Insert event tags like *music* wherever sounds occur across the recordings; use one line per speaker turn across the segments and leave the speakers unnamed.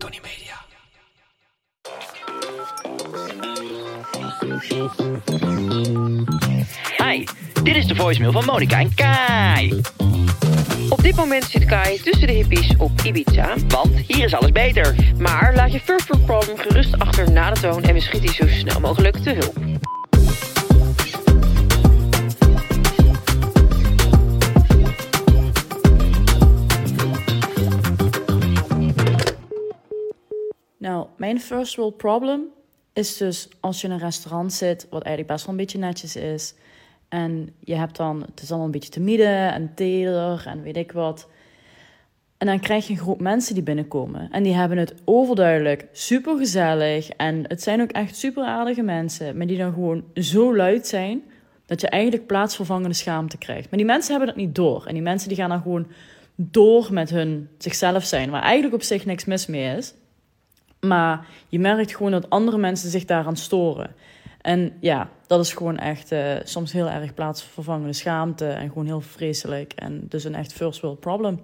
Tony Media.
Hi, dit is de voicemail van Monica en Kai.
Op dit moment zit Kai tussen de hippies op Ibiza.
Want hier is alles beter.
Maar laat je Fur Fur Problem gerust achter na de toon en we schieten je zo snel mogelijk te hulp.
Nou, mijn first world problem is dus als je in een restaurant zit, wat eigenlijk best wel een beetje netjes is. En je hebt dan, het is allemaal een beetje te midden en teder en weet ik wat. En dan krijg je een groep mensen die binnenkomen. En die hebben het overduidelijk super gezellig. En het zijn ook echt super aardige mensen. Maar die dan gewoon zo luid zijn. Dat je eigenlijk plaatsvervangende schaamte krijgt. Maar die mensen hebben dat niet door. En die mensen die gaan dan gewoon door met hun zichzelf zijn. Waar eigenlijk op zich niks mis mee is. Maar je merkt gewoon dat andere mensen zich daaraan storen. En ja, dat is gewoon echt eh, soms heel erg plaatsvervangende schaamte. En gewoon heel vreselijk. En dus een echt first world problem.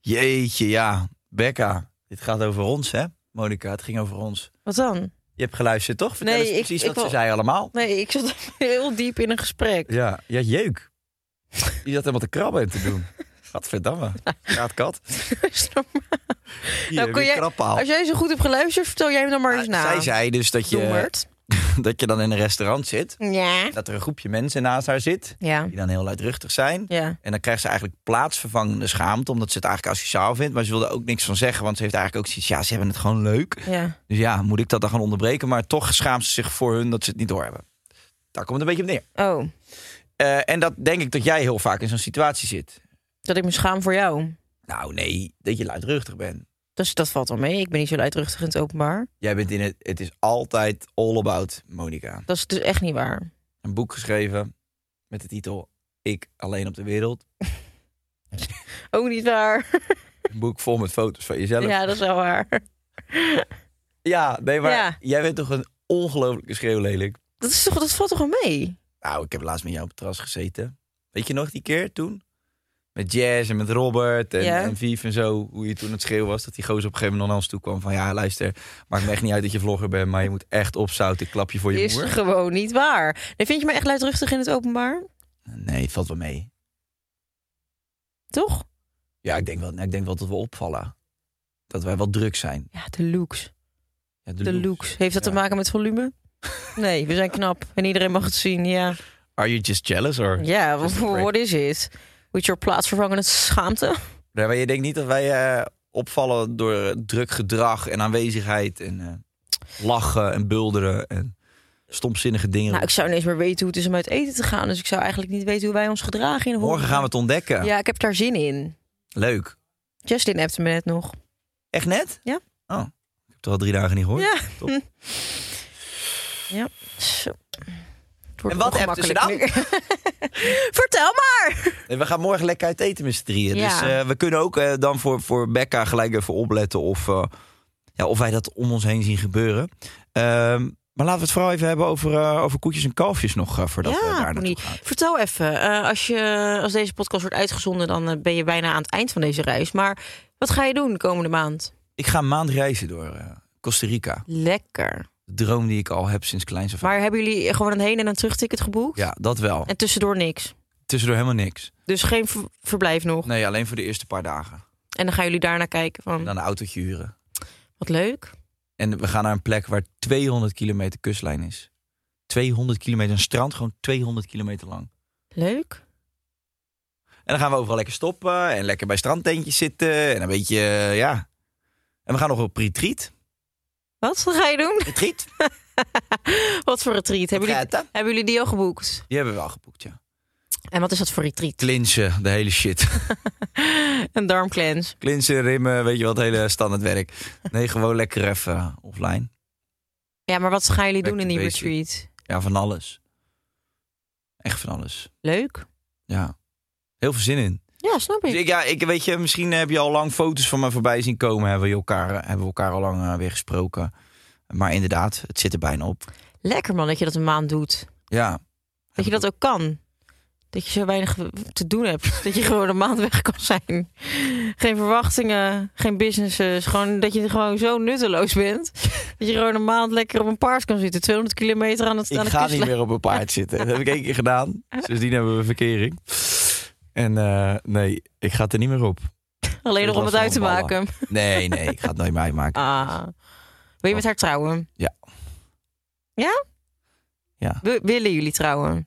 Jeetje, ja. Becca, dit gaat over ons, hè? Monica, het ging over ons.
Wat dan?
Je hebt geluisterd, toch? Vertel
Nee,
eens
ik-
precies
ik
wat ze
wil-
zei allemaal.
Nee, ik zat *laughs* heel diep in een gesprek. *laughs*
Ja, ja, jeuk. Je zat helemaal te krabben en te doen. *laughs* Gadverdamme. Gaat kat. Hier,
Nou, kon
weer
jij-
krabpaal.
Als jij zo goed hebt geluisterd, vertel jij me dan maar eens na.
Zij zei dus dat je,
Dommerd.
*laughs* dat je dan in een restaurant zit.
Ja.
Dat er een groepje mensen naast haar zit.
Ja.
Die dan heel luidruchtig zijn.
Ja.
En dan krijgt ze eigenlijk plaatsvervangende schaamte. Omdat ze het eigenlijk asociaal vindt. Maar ze wilde ook niks van zeggen. Want ze heeft eigenlijk ook zoiets. Ja, ze hebben het gewoon leuk.
Ja.
Dus ja, moet ik dat dan gaan onderbreken? Maar toch schaamt ze zich voor hun dat ze het niet doorhebben. Daar komt het een beetje op neer.
Oh,
Eh, en dat denk ik dat jij heel vaak in zo'n situatie zit.
dat ik me schaam voor jou.
Nou nee, dat je luidruchtig bent.
Dus dat valt wel mee. Ik ben niet zo luidruchtig in het openbaar.
Jij bent in het, het is altijd all about Monica.
Dat is dus echt niet waar.
Een boek geschreven met de titel Ik alleen op de wereld.
Ook niet waar.
Een boek vol met foto's van jezelf. Ja,
Ja, dat is wel waar.
nee, maar
Ja.
jij bent toch een ongelofelijke schreeuwlelijk.
Dat, is toch, dat valt toch wel mee?
Nou, ik heb laatst met jou op het terras gezeten. Weet je nog die keer toen? Met Jazz en met Robert en,
Ja.
en Vief en zo. Hoe je toen het schreeuw was. Dat die gozer op een gegeven moment naar ons toe kwam. Van ja, luister, maakt me echt niet uit dat je vlogger bent. Maar je moet echt opzouten. Ik klap je voor je
is
moer.
gewoon niet waar. Nee, vind je me echt luidruchtig in het openbaar?
Nee, valt wel mee.
Toch?
Ja, ik denk wel, nou, ik denk wel dat we opvallen. Dat wij wel druk zijn.
Ja, de looks.
Ja,
De looks. Heeft dat
Ja.
te maken met volume? Nee, we zijn knap en iedereen mag het zien. Ja,
Are you just jealous? Or...
ja
Just a break.
what is it? With your plaatsvervangende schaamte?
Nee, maar je denkt niet dat wij eh, opvallen door eh, druk gedrag en aanwezigheid. En eh, lachen en bulderen en stomzinnige dingen.
Nou, ik zou niet eens meer weten hoe het is om uit eten te gaan. Dus ik zou eigenlijk niet weten hoe wij ons gedragen in de
Morgen gaan we het ontdekken.
Ja, ik heb daar zin in.
Leuk.
Justin appte me net nog.
Echt net?
Ja.
Oh, ik heb het al drie dagen niet gehoord.
Ja.
Top.
Ja. Zo. Het wordt
En wat appten ze dan?
ongemakkelijk nu. *laughs* Vertel maar!
Nee, we gaan morgen lekker uit eten met z'n drieën.
Ja.
Dus eh, we kunnen ook eh, dan voor, voor Becca gelijk even opletten of, eh, ja, of wij dat om ons heen zien gebeuren. Ehm, maar laten we het vooral even hebben over, eh, over koetjes en kalfjes nog eh, voordat we daar
ja,
naartoe
Bonnie.
gaan.
Vertel even. eh, als, je, als deze podcast wordt uitgezonden, dan eh, ben je bijna aan het eind van deze reis. Maar wat ga je doen de komende maand?
Ik ga een maand reizen door eh, Costa Rica.
Lekker.
De droom die ik al heb sinds kleins af aan.
Maar hebben jullie gewoon een heen- en een terugticket geboekt?
Ja, dat wel.
En tussendoor niks?
tussendoor helemaal niks.
Dus geen v- verblijf nog.
Nee, alleen voor de eerste paar dagen.
En dan gaan jullie daarna kijken van,
En dan een autootje huren.
wat leuk.
En we gaan naar een plek waar 200 kilometer kustlijn is. 200 kilometer, een strand gewoon 200 kilometer lang.
Leuk.
En dan gaan we overal lekker stoppen en lekker bij strandtentjes zitten. En een beetje, eh, ja. En we gaan nog op retreat.
Wat ga je doen?
*laughs*
*laughs*
Retreat?
Wat voor retreat? Hebben jullie,
Retreat, hè?
hebben jullie die al geboekt?
Die hebben we al geboekt, ja.
En wat is dat voor retreat? *laughs*
Klinsen, de hele shit. *laughs*
Een darmcleanse.
Klinsen, rimmen, weet je wat, hele standaardwerk. Nee, gewoon lekker even offline.
Ja, maar wat gaan jullie
Back
doen in
to
die
basic.
retreat?
Ja, van alles. Echt van alles.
Leuk.
Ja. Heel veel zin in.
Ja, snap
Dus
ik.
ik, ja, ik weet je, misschien heb je al lang foto's van me voorbij zien komen. Hebben we elkaar, hebben we elkaar al lang eh, weer gesproken. Maar inderdaad, het zit er bijna op.
Lekker man dat je dat een maand doet.
Ja.
Dat je dat ook kan. Dat je zo weinig te doen hebt. *laughs* Dat je gewoon een maand weg kan zijn. Geen verwachtingen, geen businesses. Gewoon dat je gewoon zo nutteloos bent. Dat je gewoon een maand lekker op een paard kan zitten. 200 kilometer aan het aan
Ik
de
ga niet
kustlijn.
meer op een paard zitten. Dat heb ik één keer
*laughs*
gedaan. Sindsdien hebben we verkering. En eh, nee, ik ga het er niet meer op.
Alleen
Ik
nog om
was
het uit te
van ballen.
maken.
Nee, nee, ik ga het nooit meer uitmaken.
Ah. Wil je met haar trouwen?
Ja.
Ja?
Ja.
Wi- willen jullie trouwen? *laughs*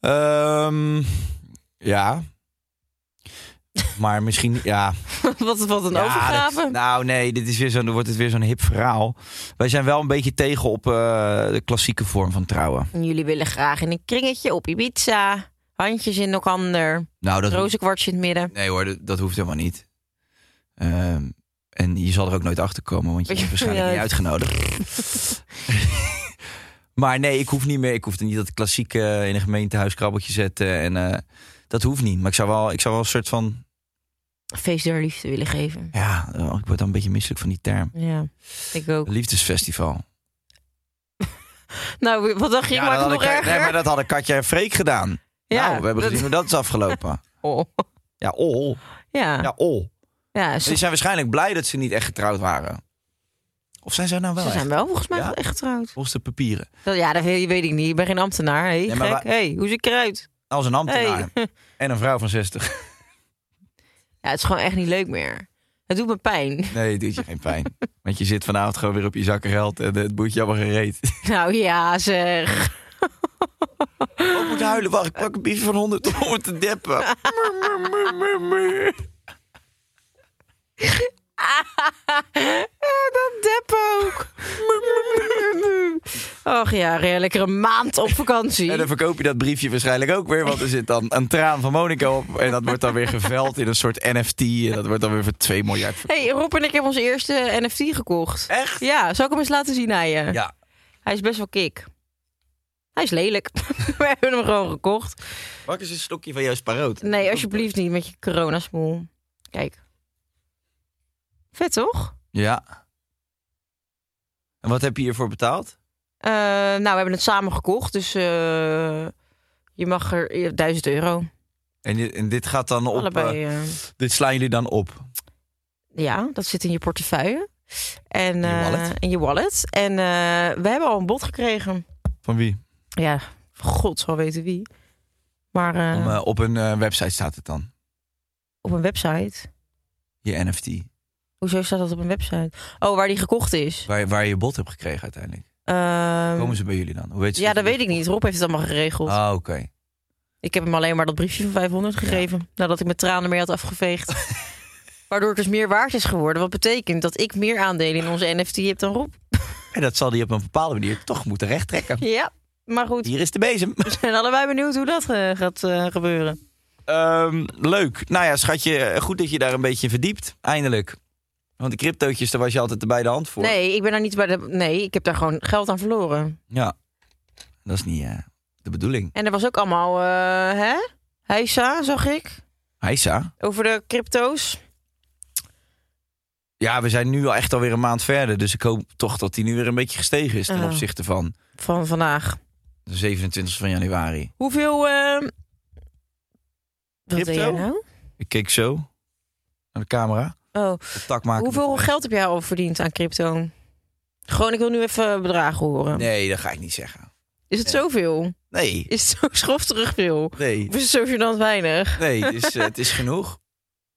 Ehm, ja. Maar misschien, ja.
wat, wat een
Ja,
overgave.
dat- nou nee, dit is weer zo'n, dan wordt het weer zo'n hip verhaal. Wij zijn wel een beetje tegen op eh, de klassieke vorm van trouwen.
En Jullie willen graag in een kringetje op Ibiza. Handjes in elkander.
Nou, dat hoeft,
Rozenkwartje in het midden.
nee hoor, dat, dat hoeft helemaal niet. Ehm, en je zal er ook nooit achter komen, want je
*laughs*
bent waarschijnlijk
Ja.
niet uitgenodigd. *laughs* maar nee, ik hoef niet meer. Ik hoef niet dat klassieke in een gemeentehuis krabbeltje zetten. En eh, dat hoeft niet. Maar ik zou wel, ik zou wel een soort van,
Een Feest der liefde willen geven.
ja, eh, ik word dan een beetje misselijk van die term.
Ja, ik ook.
Liefdesfestival.
Nou, wat dacht je? ik maak
dat
het
hadden
nog
Ka-
erger.
nee, maar dat hadden Katja en Freek gedaan.
Ja,
nou, we hebben
dat-
gezien hoe dat is
*laughs*
afgelopen.
Oh.
Ja, ol.
Ja, ja.
Ja, ol.
ze,
Die zijn waarschijnlijk blij dat ze niet echt getrouwd waren. Of zijn ze nou wel
ze zijn
echt?
wel volgens mij
Ja?
wel echt getrouwd.
Volgens de papieren.
Dat- Ja, dat weet, weet ik niet. Ik ben geen ambtenaar. Hé, hey,
Nee, maar
gek. hey, hoe zie ik eruit?
Als een ambtenaar.
*laughs* Hey.
En een vrouw van 60.
Ja, het is gewoon echt niet leuk meer. Het doet me pijn. *laughs*
Nee, het doet je geen pijn. Want je zit vanavond gewoon weer op je zakken geld en het boetje allemaal gereed. *laughs*
Nou ja, zeg. *laughs*
Ik moet huilen, wacht, ik pak een briefje van 100 om het te
*laughs*
deppen.
Ja, Eh, dat dep ook. *laughs* Och ja, ja, lekker een maand op vakantie.
En dan verkoop je dat briefje waarschijnlijk ook weer, want er zit dan een traan van Monica op. En dat wordt dan weer geveld in een soort NFT. En dat wordt dan weer voor 2 miljard verkocht.
hey, Rob en ik hebben onze eerste NFT gekocht.
Echt?
Ja, zal ik hem eens laten zien aan je?
Ja.
Hij is best wel kick. Hij is lelijk. *laughs* We hebben hem gewoon gekocht.
Pak eens een stokje van jouw sparoot.
Nee, alsjeblieft niet met je coronasmoel. Kijk. Vet toch?
Ja. En wat heb je hiervoor betaald?
Eh, nou, we hebben het samen gekocht. Dus eh, je mag er eh, 1000 euro.
En, je- en dit gaat dan op.
Allebei.
eh,
eh,
dit slaan jullie dan op.
Ja, dat zit in je portefeuille. En,
je
eh,
wallet.
in je wallet. En eh, we hebben al een bod gekregen.
Van wie?
Ja, god zal weten wie. Maar eh,
Om, eh, op een eh, website staat het dan.
op een website.
Je NFT.
Hoezo staat dat op een website? Oh, waar die gekocht is.
Waar, je- waar je je bot hebt gekregen uiteindelijk.
Ehm,
Komen ze bij jullie dan? Hoe weet je
ja, dat
je
weet ik
bot-
niet. Rob heeft het allemaal geregeld.
Ah, oké.
Ik heb hem alleen maar dat briefje van 500 gegeven. Nadat ik mijn tranen mee had afgeveegd.
*laughs*
Waardoor het dus meer waard is geworden. Wat betekent dat ik meer aandelen in onze NFT heb dan Rob.
En dat zal die op een bepaalde manier toch moeten
*laughs*
rechttrekken.
Ja, maar goed.
Hier is de bezem.
We zijn allebei benieuwd hoe dat eh, gaat eh, gebeuren.
Ehm, leuk. Nou ja, schatje, goed dat je daar een beetje in verdiept. Eindelijk. Want de cryptootjes, daar was je altijd bij de hand voor.
Nee, ik ben daar niet bij de. Nee, ik heb daar gewoon geld aan verloren.
Ja. Dat is niet eh, de bedoeling.
En er was ook allemaal, eh hè? Heisa, zag ik.
Heisa.
Over de crypto's.
Ja, we zijn nu al echt alweer een maand verder. Dus ik hoop toch dat die nu weer een beetje gestegen is ten
Ja.
opzichte van
Van vandaag.
de 27 van januari.
Hoeveel. eh, Wat
Crypto?
deed jij nou?
Ik keek zo naar de camera.
Oh,
Tak maken.
hoeveel geld heb jij al verdiend aan crypto? Gewoon, ik wil nu even bedragen horen.
Nee, dat ga ik niet zeggen.
Is het zoveel?
Nee,
Is het zo *laughs* schofterig veel?
nee,
Of is het zo gênant weinig?
nee. Het is, eh, het is genoeg.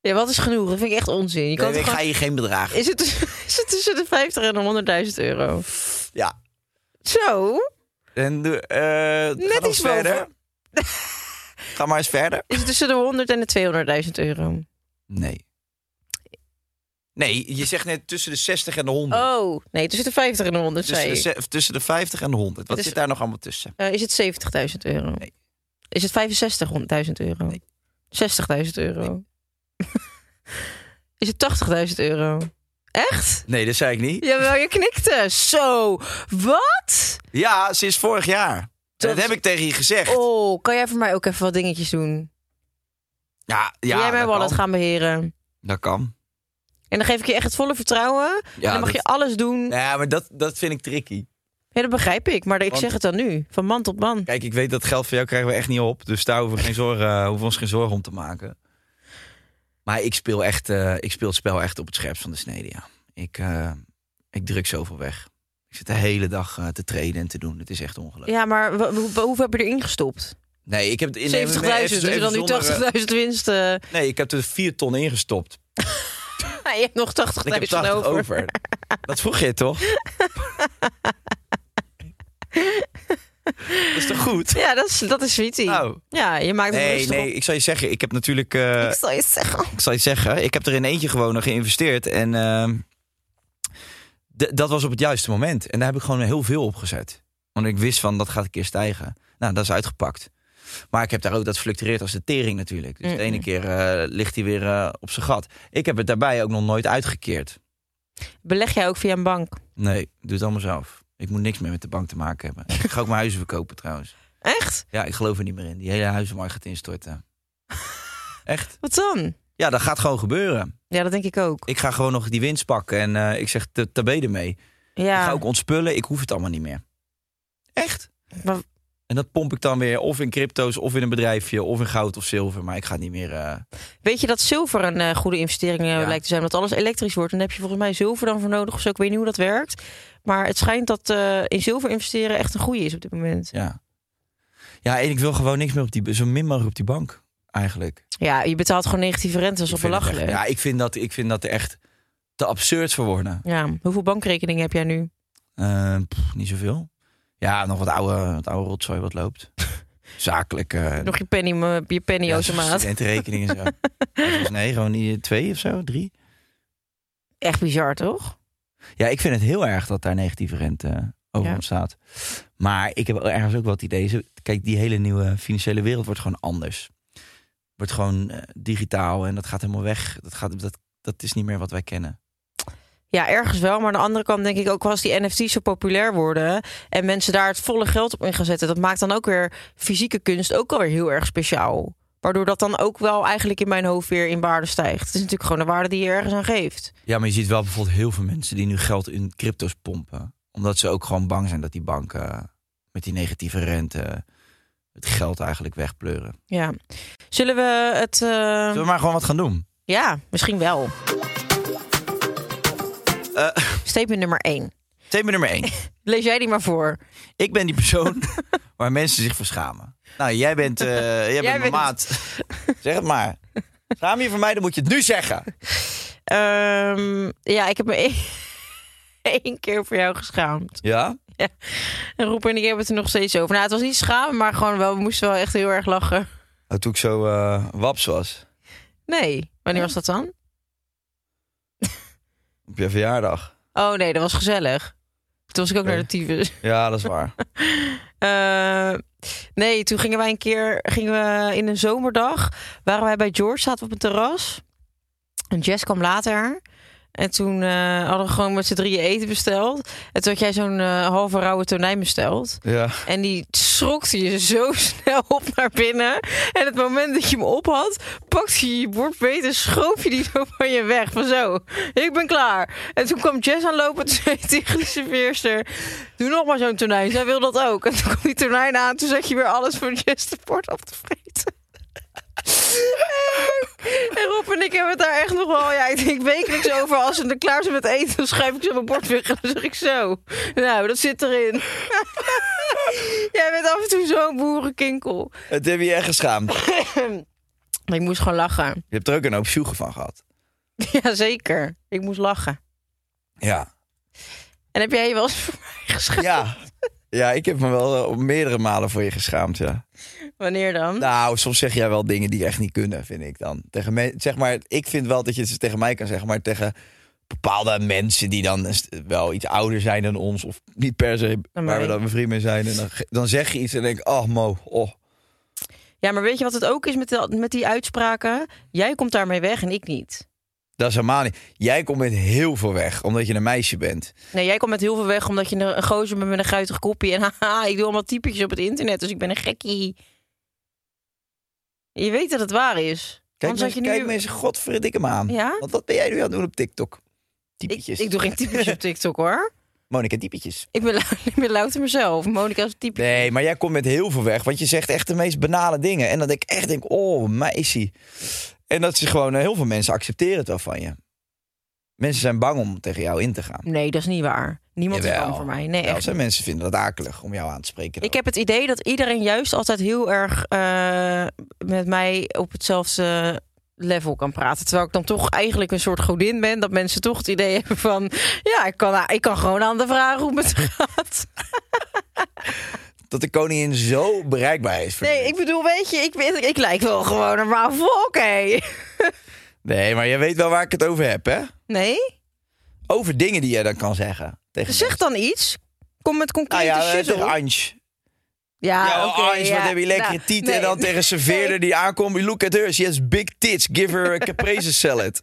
Ja, wat is genoeg? Dat vind *laughs* ik echt onzin. Je kan
Nee,
toch
ik ga
gewoon-
je geen bedrag.
is, het, is het tussen *laughs* de 50 en de 100.000 euro?
Ja.
Zo?
En doe- eh, ga nog eens
iets *laughs*
verder. ga maar eens verder.
Is het tussen de 100 en de 200.000 euro?
Nee. Nee, je zegt net tussen de 60 en de 100.
Oh, nee, tussen de 50 en de 100
tussen,
zei
de,
je.
ze- tussen de 50 en de 100. Wat
Het is-
zit daar nog allemaal tussen?
Eh, is het 70.000 euro?
Nee.
Is het 65.000 euro?
Nee.
60.000 euro? *laughs* is het 80.000 euro? Echt?
Nee, dat zei ik niet.
*laughs* Jawel, je knikte. Zo, wat?
Ja, sinds vorig jaar. En Dat, heb ik tegen je gezegd.
Oh, kan jij voor mij ook even wat dingetjes doen?
Ja, ja
jij mijn
dat
wallet
kan.
gaan beheren.
Dat kan.
En dan geef ik je echt het volle vertrouwen. en
Ja,
dan mag
dat-
je alles doen.
Ja, maar dat, dat vind ik tricky.
Ja, dat begrijp ik. Maar ik
Want-
zeg het dan nu. Van man tot man.
Kijk, ik weet dat geld van jou krijgen we echt niet op. Dus daar hoeven we, geen zorgen, eh, hoeven we ons geen zorgen om te maken. Maar ik speel, echt, eh, ik speel het spel echt op het scherpst van de snede, ja. Ik, eh, ik druk zoveel weg. Ik zit de hele dag eh, te treden en te doen. Het is echt ongelooflijk.
Ja, maar wa- hoe- hoeveel heb je erin gestopt? 70.000.
Nee, ik heb... in-
Dus
even- even
je dan nu
zonder, eh,
80.000 winst... eh,
*laughs*
*laughs*
Nee, ik heb er vier ton ingestopt.
Ja, je hebt nog 80.000
Ik heb 80 over.
*laughs*
Dat vroeg je toch? dat is toch goed?
Ja, dat is, dat is sweetie.
Nou.
Ja, je maakt het
Nee,
rustig op.
nee, ik zal je zeggen, ik heb natuurlijk... eh,
Ik zal je zeggen.
ik zal je zeggen, ik heb er in eentje gewoon nog geïnvesteerd. En ehm, d- dat was op het juiste moment. En daar heb ik gewoon heel veel op gezet. Want ik wist van, dat gaat een keer stijgen. Nou, dat is uitgepakt. Maar ik heb daar ook, dat fluctueert als de tering natuurlijk. Dus de
Mm-mm.
ene keer eh, ligt hij weer eh, op zijn gat. Ik heb het daarbij ook nog nooit uitgekeerd.
Beleg jij ook via een bank?
Nee, ik doe het allemaal zelf. Ik moet niks meer met de bank te maken hebben. Ik ga ook mijn huizen verkopen trouwens.
Echt?
Ja, ik geloof er niet meer in. Die hele huizenmarkt gaat instorten. Echt?
Wat dan?
Ja, dat gaat gewoon gebeuren.
Ja, dat denk ik ook.
Ik ga gewoon nog die winst pakken en eh, ik zeg te- tabé ermee. Ik ga
Ja,
ook ontspullen, ik hoef het allemaal niet meer. Echt?
Maar-
En dat pomp ik dan weer of in crypto's of in een bedrijfje of in goud of zilver. Maar ik ga het niet meer... eh,
weet je dat zilver een eh, goede investering eh,
Ja.
lijkt te zijn? Omdat alles elektrisch wordt. En daar heb je volgens mij zilver dan voor nodig. Of zo. Ik weet niet hoe dat werkt. Maar het schijnt dat eh, in zilver investeren echt een goede is op dit moment.
ja. ja, en ik wil gewoon niks meer op die... Zo min mogelijk op die bank, eigenlijk.
Ja, je betaalt gewoon negatieve rente. Dat
Ik
is al
vind het echt-
belachelijk. Ja.
Ja, ik vind, dat, ik vind dat er echt te absurd voor worden.
Hoeveel bankrekeningen heb jij nu?
Eh, pff, niet zoveel. Ja, nog wat oude, wat oude rotzooi wat
*laughs*
loopt. Zakelijk. eh
Nog je penny, eh, je penny
ja,
automaat.
studentenrekening en zo.
*laughs*
Volgens- nee, gewoon die twee of zo, drie.
Echt bizar, toch?
Ja, ik vind het heel erg dat daar negatieve rente eh, over
Ja.
ontstaat. Maar ik heb ergens ook wel het idee. ze- Kijk, die hele nieuwe financiële wereld wordt gewoon anders. Wordt gewoon eh, digitaal en dat gaat helemaal weg. Dat, gaat, dat, dat is niet meer wat wij kennen.
Ja, ergens wel. Maar aan de andere kant denk ik ook wel als die NFT's zo populair worden en mensen daar het volle geld op in gaan zetten, dat maakt dan ook weer fysieke kunst ook alweer heel erg speciaal. Waardoor dat dan ook wel eigenlijk in mijn hoofd weer in waarde stijgt. Het is natuurlijk gewoon de waarde die je ergens aan geeft.
Ja, maar je ziet wel bijvoorbeeld heel veel mensen die nu geld in crypto's pompen. Omdat ze ook gewoon bang zijn dat die banken eh, met die negatieve rente eh, het geld eigenlijk wegpleuren.
Ja. Zullen we het. eh,
Zullen we maar gewoon wat gaan doen?
Ja, misschien wel.
Eh.
Statement nummer 1.
Thema nummer *laughs* 1.
Lees jij die maar voor.
Ik ben die persoon *laughs* waar mensen zich voor schamen. Nou, jij *laughs* bent, eh, jij bent mijn
bent-
maat. *laughs* Zeg het maar. Schaam je voor mij, dan moet je het nu zeggen.
Ehm, ja, ik heb me *laughs* één- één keer voor jou geschaamd.
Ja?
En Roepen en ik hebben het er nog steeds over. Nou, het was niet schamen, maar gewoon wel, we moesten wel echt heel erg lachen.
Nou, toen ik zo eh, waps was
Nee, wanneer was dat dan?
op je verjaardag.
Oh nee, dat was gezellig. Toen was ik ook
Oké.
naar de tyfus.
Ja, dat is waar.
Eh, nee, toen gingen wij een keer gingen we in een zomerdag. Waren wij bij George, zaten we op het terras. En Jess kwam later. En toen eh, hadden we gewoon met z'n drieën eten besteld. En toen had jij zo'n eh, halve rauwe tonijn besteld.
Ja.
En die schrokte je zo *laughs* snel op naar binnen. En het moment dat je hem op had, pakte je je bord beet en schoof je die *laughs* zo van je weg. Van zo, ik ben klaar. En toen kwam Jess aanlopen *laughs* en zei tegen de serveerster... Doe nog maar zo'n tonijn, zij wil dat ook. En toen kwam die tonijn aan, toen zat je weer alles voor Jess de bord op te vreten. En Rob en ik hebben het daar echt nog wel. Ja, ik denk wekelijks over. Als ze er klaar zijn met eten, dan schuif ik ze op mijn bord weg. En dan zeg ik zo. Nou, dat zit erin. Jij bent af en toe zo'n boerenkinkel.
Het heb je echt geschaamd.
Maar ik moest gewoon lachen.
Je hebt er ook een hoop sjoegen van gehad.
Jazeker. Ik moest lachen.
Ja.
En heb jij je wel eens voor mij geschaamd?
Ja. Ja, ik heb me wel eh, op meerdere malen voor je geschaamd, ja.
Wanneer dan?
Nou, soms zeg jij wel dingen die echt niet kunnen, vind ik dan. Tegen me, zeg maar, ik vind wel dat je het tegen mij kan zeggen, maar tegen bepaalde mensen die dan st- wel iets ouder zijn dan ons, of niet per se
maar
waar we
ik-
dan bevriend mee zijn, en dan, ge- dan zeg je iets en denk ik, oh mo, oh.
Ja, maar weet je wat het ook is met, dat- met die uitspraken? Jij komt daarmee weg en ik niet.
Dat is helemaal niet. Jij komt met heel veel weg, omdat je een meisje bent.
Nee, jij komt met heel veel weg omdat je een, een gozer bent met een guitig kopje. En *laughs* haha, ik doe allemaal typetjes op het internet, dus ik ben een gekkie. Je weet dat het waar is.
Kijk,
Anders
mensen,
had je nu-
kijk mensen godverdikke me aan.
Ja?
Want wat ben jij nu aan het doen op TikTok?
Ik,
Typetjes.
ik doe geen typetjes op TikTok hoor.
Monika, typetjes.
Ik ben, *laughs* lu- ik ben louter mezelf. Monika is een type.
Nee, maar jij komt met heel veel weg. Want je zegt echt de meest banale dingen. En dat ik echt denk, oh, meisje. En dat ze gewoon, eh, heel veel mensen accepteren het wel van je. Mensen zijn bang om tegen jou in te gaan.
Nee, dat is niet waar. Niemand is
Jawel.
bang voor mij. Nee,
Wel,
echt.
zijn mensen vinden dat akelig om jou aan te spreken.
Ik heb het idee dat iedereen juist altijd heel erg eh, met mij op hetzelfde level kan praten. Terwijl ik dan toch eigenlijk een soort godin ben. Dat mensen toch het idee hebben van... Ja, ik kan, ik kan gewoon aan de vragen hoe het *laughs* gaat.
Dat de koningin zo bereikbaar is. Voor
Nee,
die
ik bedoel, weet je, ik, weet- ik lijk wel gewoon een normaal volk, hé.
mensen. nee, maar je weet wel waar ik het over heb, hè?
Nee?
Over dingen die jij dan kan zeggen. Tegen
Zeg dan iets. Kom met
nou
concrete
ja, eh,
shit
tegen
op.
Ange.
Ja,
Ja,
Ah, oké,
Ange,
ja.
wat heb je lekkere
Nou,
tieten.
nee.
En dan tegen serveerder die aankomt. Look at her, she has big tits. Give her a caprese
*laughs*
salad.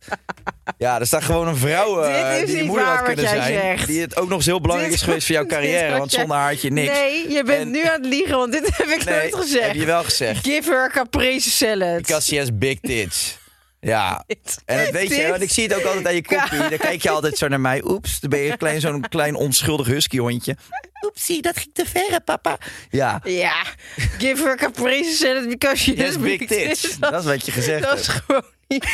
Ja, daar staat gewoon een vrouw eh,
Dit is
die je
niet
moeder had
waar wat
kunnen
jij
zijn.
zegt.
Die het ook nog eens heel belangrijk
Dit-
is geweest voor jouw
*laughs* dit is
carrière.
wat
Want
jij-
zonder haar had je niks.
Nee, je bent
En-
nu aan het liegen, want dit *laughs* heb ik
Nee,
nooit gezegd.
heb je wel gezegd.
Give her a caprese salad.
Because she has big tits. Ja, en dat weet je,
Dit-
want ik zie het ook altijd aan je kopie. Dan kijk je altijd zo naar mij. Oeps, dan ben je een klein, zo'n klein onschuldig huskyhondje. Oepsie, dat ging te ver, hè, papa. Ja,
Ja, give her a caprese salad because she
yes,
has
big tits. Dat, is wat je gezegd
Dat is
hebt.
gewoon *laughs* niet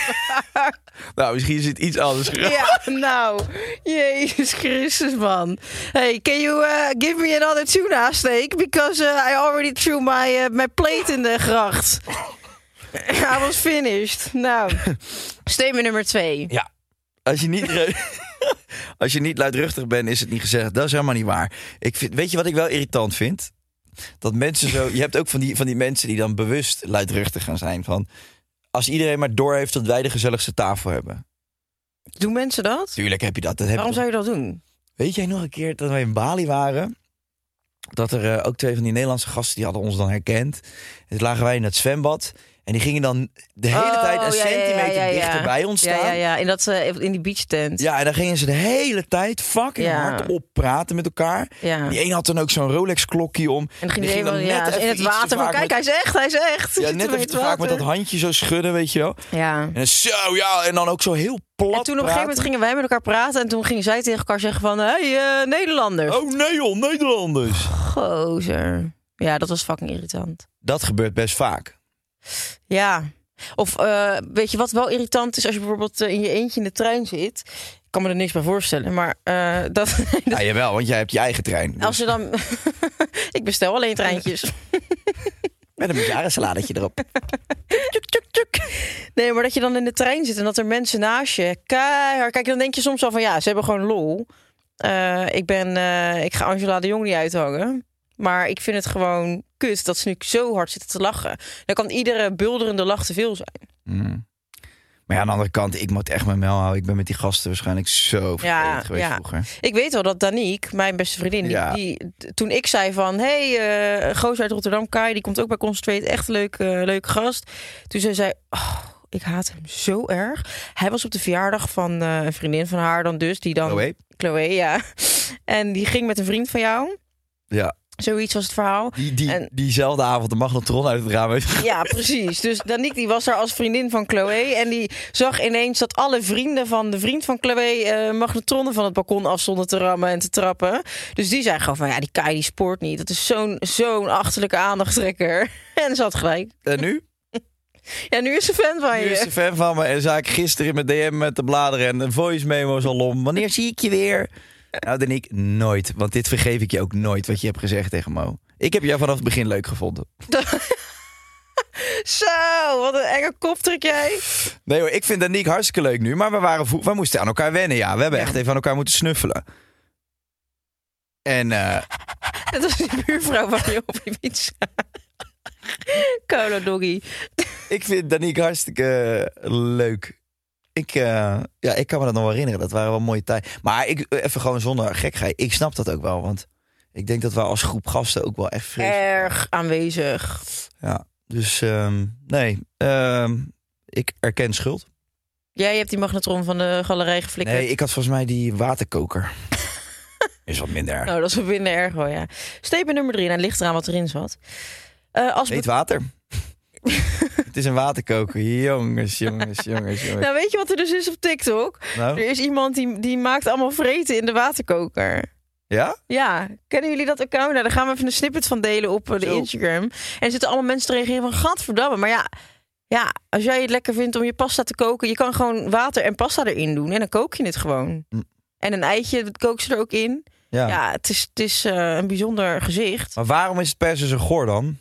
waar.
Nou, misschien is het iets anders.
*laughs* Ja, nou, Jezus Christus, man. Hey, can you eh, give me another tuna steak? Because eh, I already threw my, eh, my plate in de gracht. I was finished. Nou, statement nummer twee.
Ja. Als je niet, *laughs* als je niet luidruchtig bent, is het niet gezegd. Dat is helemaal niet waar. Ik vind, weet je wat ik wel irritant vind? Dat mensen zo. Je hebt ook van die, van die mensen die dan bewust luidruchtig gaan zijn. Van als iedereen maar door heeft dat wij de gezelligste tafel hebben.
Doen mensen dat?
Tuurlijk heb je dat. dat heb je
Waarom
toch-
zou je dat doen?
Weet jij nog een keer dat wij in Bali waren? Dat er eh, ook twee van die Nederlandse gasten, die hadden ons dan herkend. En toen lagen wij in dat zwembad. En die gingen dan de hele
Oh,
tijd een
ja, ja, ja,
centimeter
ja, ja.
dichter bij ons staan.
Ja, ja, ja. In, dat, eh, in die beachtent.
Ja, en dan gingen ze de hele tijd fucking
Ja.
hard oppraten met elkaar.
Ja.
Die een had dan ook zo'n Rolex-klokje om.
En dan ging
Die
hij helemaal ja,
net
in
even
het
iets te
water van...
vaak
Kijk, hij
met-
is echt, hij is
*laughs* ja,
echt. Zit
net
hem in
even
het
te vaak met dat
water.
handje zo schudden, weet je wel. En
Ja.
dan zo, ja, en dan ook zo heel plat
En toen op een gegeven moment
praten.
gingen wij met elkaar praten. En toen gingen zij tegen elkaar zeggen van... Hé, hey, eh, Nederlanders.
Oh nee joh, Nederlanders.
Gozer. Ja, dat was fucking irritant.
Dat gebeurt best
*laughs*
vaak.
Ja. Of eh, weet je wat wel irritant is als je bijvoorbeeld eh, in je eentje in de trein zit? Ik kan me er niks bij voorstellen, maar eh, dat, *laughs* dat-
Ja, jawel, want jij hebt je eigen trein. Dus
als je dan. *laughs* ik bestel alleen treintjes.
Met een salaatje
*laughs*
erop.
Tjuk, tjuk, tjuk. Nee, maar dat je dan in de trein zit en dat er mensen naast je keihard... Kijk, dan denk je soms al van ja, ze hebben gewoon lol. Eh, ik, ben, eh, ik ga Angela de Jong niet uithangen. Maar ik vind het gewoon kut dat ze nu zo hard zitten te lachen. Dan kan iedere bulderende lach te veel zijn.
Mm. Maar ja, aan de andere kant, ik moet echt mijn mel houden. Ik ben met die gasten waarschijnlijk zo vervelend
Ja,
geweest
ja.
vroeger.
Ik weet wel dat Danique, mijn beste vriendin... die-
Ja.
Die, toen ik zei van... hey, eh, een gozer uit Rotterdam, Kai, die komt ook bij Concentrate. Echt een leuk, eh, leuke gast. Toen zei zij... Oh, ik haat hem zo erg. Hij was op de verjaardag van eh, een vriendin van haar dan dus... die dan
Oh, hé.
Chloe, ja. En die ging met een vriend van jou.
Ja,
Zoiets was het verhaal.
die, die,
En-
diezelfde avond de magnetron uit het raam heeft
*laughs* Ja, precies. Dus Danique die was daar als vriendin van Chloe. En die zag ineens dat alle vrienden van de vriend van Chloe... eh magnetronnen van het balkon af stonden te rammen en te trappen. Dus die zei gewoon van... Ja, die Kai die *laughs* spoort niet. Dat is zo'n zo'n achterlijke aandachttrekker. En ze had gelijk.
En nu?
Ja, nu is ze fan van
Nu is ze
je.
fan van me en zei ik gisteren in mijn DM met de bladeren en de voice memo's al om. Wanneer zie ik je weer? Nou, Danique, nooit. Want dit vergeef ik je ook nooit, wat je hebt gezegd tegen Mo. Ik heb jou vanaf het begin leuk gevonden.
Zo, wat een enge kop trek jij.
Nee hoor, ik vind Danique hartstikke leuk nu. Maar we, waren vro- we moesten aan elkaar wennen, ja. We hebben echt even aan elkaar moeten snuffelen. En eh,
Dat was die buurvrouw van je op je fiets. Colo doggy.
ik vind Danique hartstikke eh, leuk. Ik, eh, ja, ik kan me dat nog wel herinneren. Dat waren wel mooie tijden. Maar ik, eh, even gewoon zonder gekheid. Ik snap dat ook wel, want... Ik denk dat we als groep gasten ook wel echt vreselijk
Erg aanwezig.
Ja, dus ehm, nee, ehm, ik erken schuld.
Jij hebt die magnetron van de galerij geflikkerd.
Nee, ik had volgens mij die waterkoker. *laughs* Is wat minder erg.
Nou, dat is wel minder erg hoor, ja. Statement nummer drie. Nou, het ligt eraan wat erin zat. Eh, als be-
Heet water. *laughs* Het is een waterkoker. Jongens, jongens, jongens, jongens.
nou, weet je wat er dus is op TikTok?
*laughs* Nou,
Er is iemand die, die maakt allemaal vreten in de waterkoker.
ja?
Ja, kennen jullie dat account? Nou, daar gaan we even een snippet van delen op eh, de
Zo.
Instagram. En er zitten allemaal mensen te reageren van, gadverdamme. Maar ja, ja, als jij het lekker vindt om je pasta te koken... je kan gewoon water en pasta erin doen en dan kook je het gewoon.
Hm.
En een eitje, dat kook ze er ook in.
Ja.
Ja, het is, het is eh, een bijzonder gezicht.
Maar waarom is het per se zo goor dan?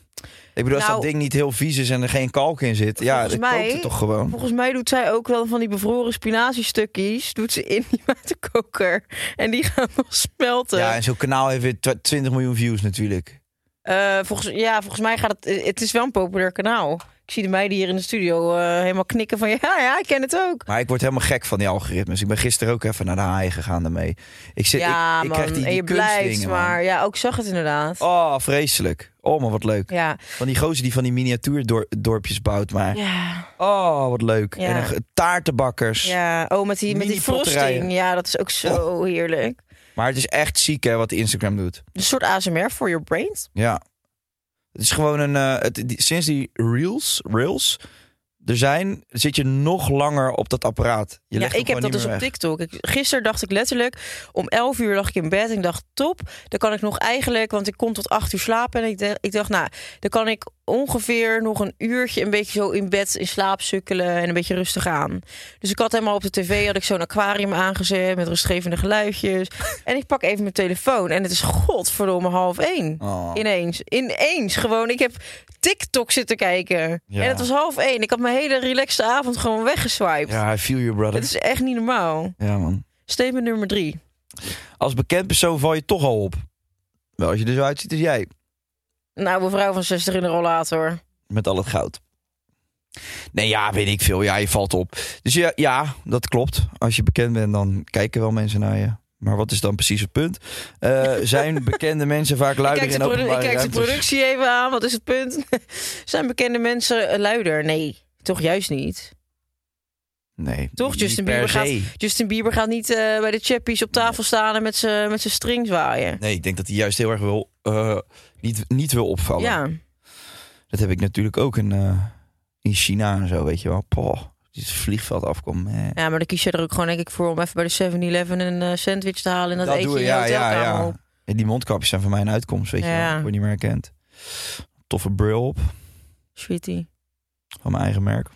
Ik bedoel, als
Nou,
dat ding niet heel vies is en er geen kalk in zit, ja,
volgens
dan
mij-
kookt het toch gewoon.
Volgens mij doet zij ook wel van die bevroren spinaziestukjes... doet ze in die *laughs* waterkoker. En die gaan nog smelten.
Ja, en zo'n kanaal heeft weer tw- 20 miljoen views natuurlijk.
Eh, volgens, ja, volgens mij gaat het. Het is wel een populair kanaal. Ik zie de meiden hier in de studio eh, helemaal knikken van *laughs* ja, ja, ik ken het ook.
Maar ik word helemaal gek van die algoritmes. Ik ben gisteren ook even naar de haaien gegaan daarmee. Ik zit,
ja,
ik, ik
man.
krijg die,
en
die
je blijft
kunstdingen, man.
maar. Ja, ook zag het inderdaad.
Oh, vreselijk. Oh, maar wat leuk.
Ja.
Van die gozer die van die miniatuurdorpjes bouwt. Maar
Ja,
oh, wat leuk.
Ja.
En dan ge- taartenbakkers.
ja. Oh, met die, met die
Mini-potterijen.
frosting. Ja, dat is ook zo
Oh.
heerlijk.
Maar het is echt ziek hè, wat Instagram doet.
Een soort ASMR voor your brains.
Ja. Het is gewoon een... eh, het, die- sinds die reels, reels er zijn, zit je nog langer op dat apparaat. Je
ja,
legt hem
ik heb
gewoon
dat dus
niet
op
meer weg.
TikTok. Ik, gisteren dacht ik letterlijk, om 11 uur lag ik in bed en ik dacht, top, dan kan ik nog eigenlijk, want ik kon tot 8 uur slapen en ik, dacht- ik dacht, nou, dan kan ik ongeveer nog een uurtje een beetje zo in bed in slaap sukkelen en een beetje rustig aan. Dus ik had helemaal op de tv, had ik zo'n aquarium aangezet met rustgevende
*laughs*
geluidjes. en ik pak even mijn telefoon en het is godverdomme half één.
Oh.
Ineens, ineens gewoon. Ik heb TikTok zitten kijken
Ja.
en het was half één. Ik had mijn hele relaxte avond gewoon weggeswiped.
Ja, I feel you, brother.
Het is echt niet normaal.
Ja, man.
Statement nummer drie.
Als bekend persoon val je toch al op. Wel, als je er zo uitziet als jij.
Een oude vrouw van 60 in de rollator.
Met al het goud. Nee, ja, weet ik veel. Ja, je valt op. Dus ja, ja, dat klopt. Als je bekend bent, dan kijken wel mensen naar je. Maar wat is dan precies het punt? Eh,
*laughs*
zijn bekende mensen vaak
Ik
luider
kijk, de
in
produ- ik
openbare
kijk de
ruimtes?
productie even aan. Wat is het punt? *laughs* Zijn bekende mensen eh, luider? Nee, toch juist niet.
Nee.
Toch,
niet
Justin
per
Bieber gaat-
se.
Justin Bieber gaat niet eh, bij de chappies op tafel staan en met zijn met zijn string zwaaien.
Nee, ik denk dat hij juist heel erg wil, eh, niet, niet wil opvallen.
Ja,
Dat heb ik natuurlijk ook in, eh, in China en zo, weet je wel. Poh, dit vliegveld afkomt. eh.
ja, maar dan kies je er ook gewoon denk ik voor om even bij de 7-Eleven een eh, sandwich te halen en dat, eet je
doe
in
je,
je hotelkamer op.
En die mondkapjes zijn voor mij een uitkomst, weet je
Ja.
wel. Ik word niet meer herkend. Toffe bril op.
Sweetie.
Van mijn eigen merk.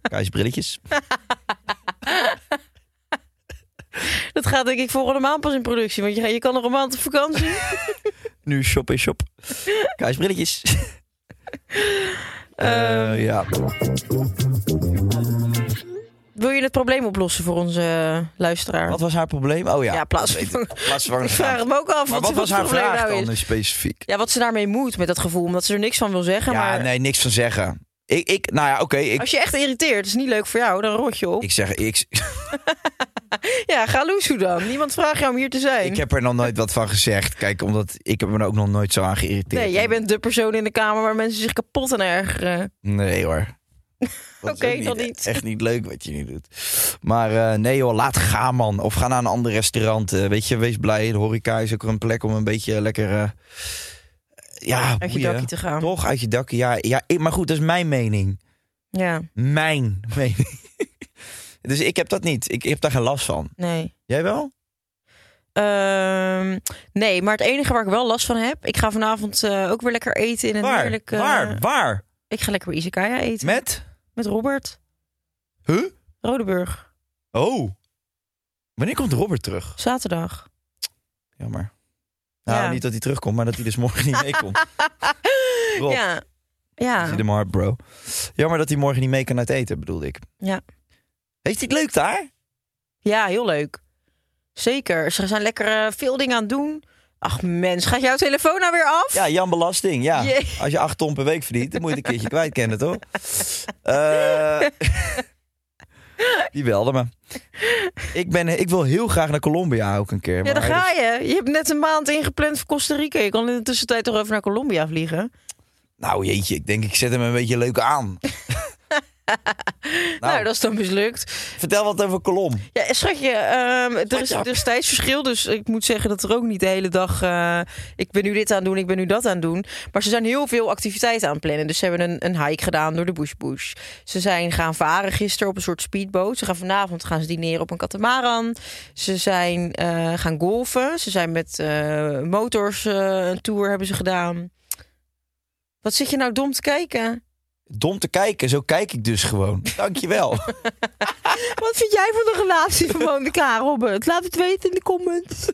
Keizerbrilletjes.
*laughs* Dat gaat denk ik volgende maand pas in productie, want je, je kan nog een maand op vakantie.
Nu shop is shop. Keizerbrilletjes. *laughs* Eh
Ehm.
ja.
Wil je het probleem oplossen voor onze eh, luisteraar?
Wat was haar probleem? Oh ja.
ja, plaatsvervangend.
Plaatsvervangend
*laughs* Ik vraag hem ook af
Maar wat
wat,
was
het
haar
probleem
vraag
nou
dan
is.
eh, specifiek?
Ja, wat ze daarmee moet met dat gevoel, omdat ze er niks van wil zeggen.
Ja,
maar
nee, niks van zeggen. Ik, ik nou ja, oké. ik,
als je echt irriteert, is niet leuk voor jou, dan rot je op.
ik zeg, ik, *laughs*
Ja, ga loesoe dan. Niemand vraagt jou om hier te zijn.
ik heb er nog nooit wat van gezegd. Kijk, omdat ik heb me er ook nog nooit zo aan geïrriteerd.
Nee, jij bent de persoon in de kamer waar mensen zich kapot eh, aan ergeren.
Nee
*laughs*
hoor. Dat is
Oké,
ook
dan niet.
Echt niet leuk wat je nu doet. Maar eh, nee joh, laat gaan man. Of ga naar een ander restaurant. Eh, weet je, wees blij. De horeca is ook een plek om een beetje lekker... eh, ja,
Uit je
Ah, boeien.
dakje te gaan.
Toch, uit je dakje. Ja, ja, ik- maar goed, dat is mijn mening.
Ja,
Mijn *laughs* mening. dus ik heb dat niet. Ik, heb daar geen last van.
nee.
Jij wel?
Ehm, nee, maar het enige waar ik wel last van heb... Ik ga vanavond eh, ook weer lekker eten in een
waar?
heerlijk... eh,
waar? Waar?
Ik ga lekker bij Izakaya eten.
Met?
Met Robert
Huh?
Rodeburg.
Oh. Wanneer komt Robert terug?
Zaterdag.
Jammer. Nou,
Ja.
niet dat hij terugkomt, maar dat hij dus morgen niet meekomt. *laughs* Rob.
Ja.
Zie
*laughs* Ja.
hem hard, bro. Jammer dat hij morgen niet mee kan uit eten, bedoelde ik.
Ja.
Heeft hij het leuk daar?
ja, heel leuk. Zeker. Ze zijn lekker eh, veel dingen aan het doen. Ach mens, gaat jouw telefoon nou weer af?
Ja, Jan Belasting, ja.
Jee.
Als je acht ton per week verdient, dan moet je het een keertje kwijt kennen,
*laughs*
toch? Eh, *laughs* die belde me. Ik, ben, ik wil heel graag naar Colombia ook een keer.
Ja,
maar
daar ga je. Je hebt net een maand ingepland voor Costa Rica. Je kan in de tussentijd toch even naar Colombia vliegen.
Nou jeetje, ik denk ik zet hem een beetje leuk
*laughs*
aan. nou,
Nou, dat is dan mislukt.
Vertel wat over Colom.
Ja, schatje, ehm, er, is, er is tijdsverschil. Dus ik moet zeggen dat er ook niet de hele dag... eh, ik ben nu dit aan het doen, ik ben nu dat aan het doen. Maar ze zijn heel veel activiteiten aan het plannen. Dus ze hebben een, een hike gedaan door de bush bush. Ze zijn gaan varen gisteren op een soort speedboot. Ze gaan vanavond gaan ze dineren op een katamaran. Ze zijn eh, gaan golfen. Ze zijn met eh, motors eh, een tour hebben ze gedaan. Wat zit je nou dom te kijken?
Dom te kijken, zo kijk ik dus
*laughs*
gewoon. Dankjewel.
Wat vind jij van de relatie van Monika en Robert? Laat het weten in de comments.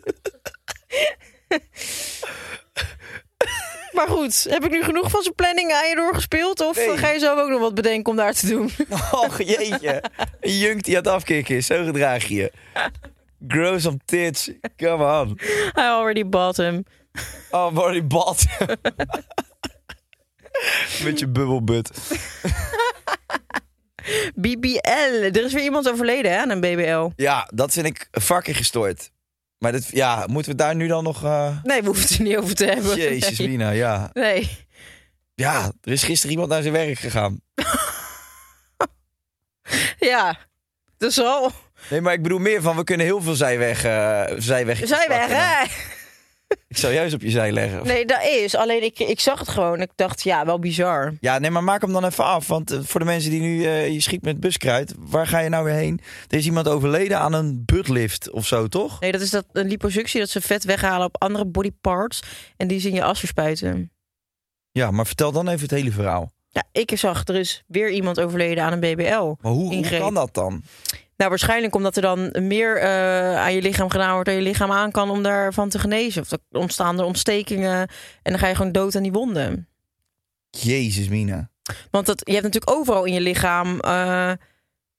maar goed, heb ik nu genoeg van zijn planning aan je doorgespeeld? Of
Nee.
ga je zelf ook nog wat bedenken om daar te doen?
Och jeetje. Een junk die aan het afkicken is, zo gedraag je je. Grow some tits, come on.
I already bought him.
Oh, body bot. *laughs* Met je bubbelbut.
BBL. Er is weer iemand overleden hè, aan een BBL.
Ja, dat vind ik fucking gestoord. Maar dit, ja, moeten we het daar nu dan nog... eh,
*laughs* Nee, we hoeven het er niet over te hebben.
Jezus,
nee.
Mina, ja.
nee.
Ja, er is gisteren iemand naar zijn werk gegaan.
Ja, dat is al.
Nee, maar ik bedoel meer van, we kunnen heel veel zijweg... eh zijweg
Zij weg,
nou.
hè?
Ik zou juist op je zij leggen.
Nee, dat is. Alleen ik, ik zag het gewoon. Ik dacht, ja, wel bizar.
Ja, nee, maar maak hem dan even af. Want eh, voor de mensen die nu eh, je schiet met buskruid, waar ga je nou weer heen? Er is iemand overleden aan een buttlift of zo, toch?
Nee, dat is dat een liposuctie dat ze vet weghalen op andere bodyparts en die ze in je as verspuiten.
Ja, maar vertel dan even het hele verhaal.
Ja, ik zag er is weer iemand overleden aan een BBL.
Maar hoe, hoe
Ingreep.
kan dat dan?
Nou, waarschijnlijk omdat er dan meer eh, aan je lichaam gedaan wordt dan je lichaam aan kan om daarvan te genezen. Of er ontstaan er ontstekingen en dan ga je gewoon dood aan die wonden.
Jezus, Mina.
Want dat, je hebt natuurlijk overal in je lichaam, eh,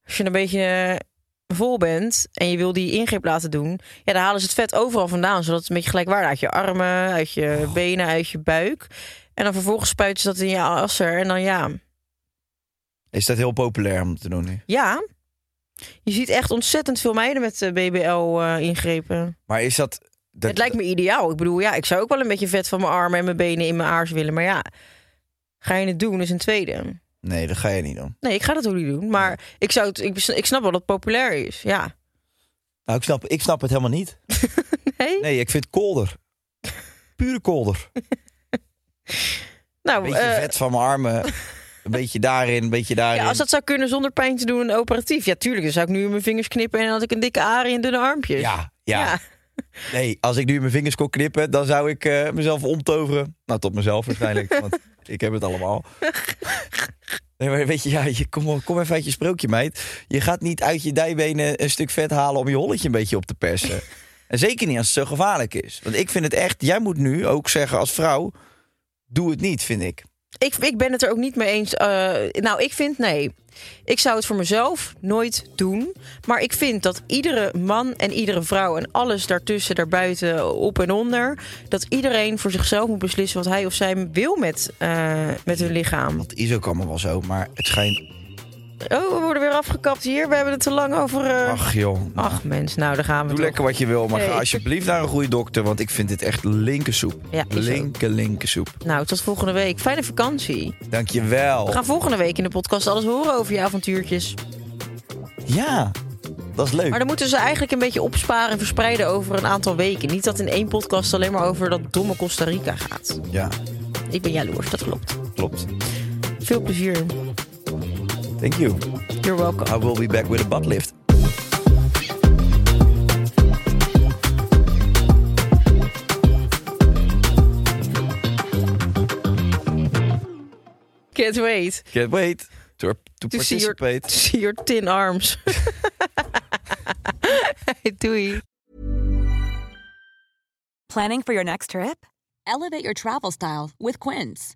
als je een beetje eh, vol bent en je wil die ingreep laten doen, ja, dan halen ze het vet overal vandaan, zodat het een beetje gelijkwaardig uit je armen, uit je benen, uit je buik. En dan vervolgens spuiten ze dat in je asser en dan ja,
Is dat heel populair om te doen nu?
ja. Je ziet echt ontzettend veel meiden met eh, BBL eh, ingrepen.
Maar is dat... dat
het lijkt me ideaal. Ik bedoel, ja, ik zou ook wel een beetje vet van mijn armen en mijn benen in mijn aars willen, maar ja, ga je het doen is een tweede.
Nee, dat ga je niet doen.
Nee, ik ga dat ook niet doen. Maar ik, zou het, ik, ik snap wel dat het populair is. Ja.
Nou, ik snap, ik snap het helemaal niet.
*laughs* Nee?
Nee, ik vind kolder. Pure kolder. Een
nou,
beetje
eh,
vet van mijn
*laughs*
armen. Een beetje daarin, een beetje daarin.
ja, als dat zou kunnen zonder pijn te doen en operatief. Ja, tuurlijk. Dan zou ik nu mijn vingers knippen en dan had ik een dikke arie en dunne armpjes.
ja, ja. Nee, als ik nu mijn vingers kon knippen, dan zou ik eh, mezelf omtoveren. Nou, tot mezelf
*laughs*
waarschijnlijk, want ik heb het allemaal. Nee, maar weet je, ja, je kom, kom even uit je sprookje, meid. Je gaat niet uit je dijbenen een stuk vet halen om je holletje een beetje op te
*laughs*
persen. En zeker niet als het zo gevaarlijk is. Want ik vind het echt, jij moet nu ook zeggen als vrouw, doe het niet, vind ik.
Ik, ik ben het er ook niet mee eens. eh, nou, ik vind nee. Ik zou het voor mezelf nooit doen. Maar ik vind dat iedere man en iedere vrouw en alles daartussen, daarbuiten, op en onder, dat iedereen voor zichzelf moet beslissen wat hij of zij wil met, eh, met hun lichaam.
Dat is ook allemaal wel zo, maar het schijnt...
Oh, we worden weer afgekapt hier. We hebben het te lang over. eh, Ach,
Ach joh,
mens, nou daar gaan we.
doe
toch.
lekker wat je wil, maar ga
Nee.
alsjeblieft naar een goede dokter. Want ik vind dit echt linkersoep.
Ja, is ook.
linker, linkersoep.
Nou, tot volgende week. Fijne vakantie.
Dankjewel.
We gaan volgende week in de podcast alles horen over je avontuurtjes.
Ja, dat is leuk.
Maar dan moeten ze eigenlijk een beetje opsparen en verspreiden over een aantal weken. Niet dat in één podcast alleen maar over dat domme Costa Rica gaat.
Ja,
Ik ben jaloers, dat klopt.
klopt.
Veel plezier.
Thank you.
You're welcome.
I will be back with a butt lift.
Oké, Can't wait.
Can't wait to, to
To see your-
participate.
See your tin arms. Hey, Doei.
Planning for your next trip? Elevate your travel style with Quince.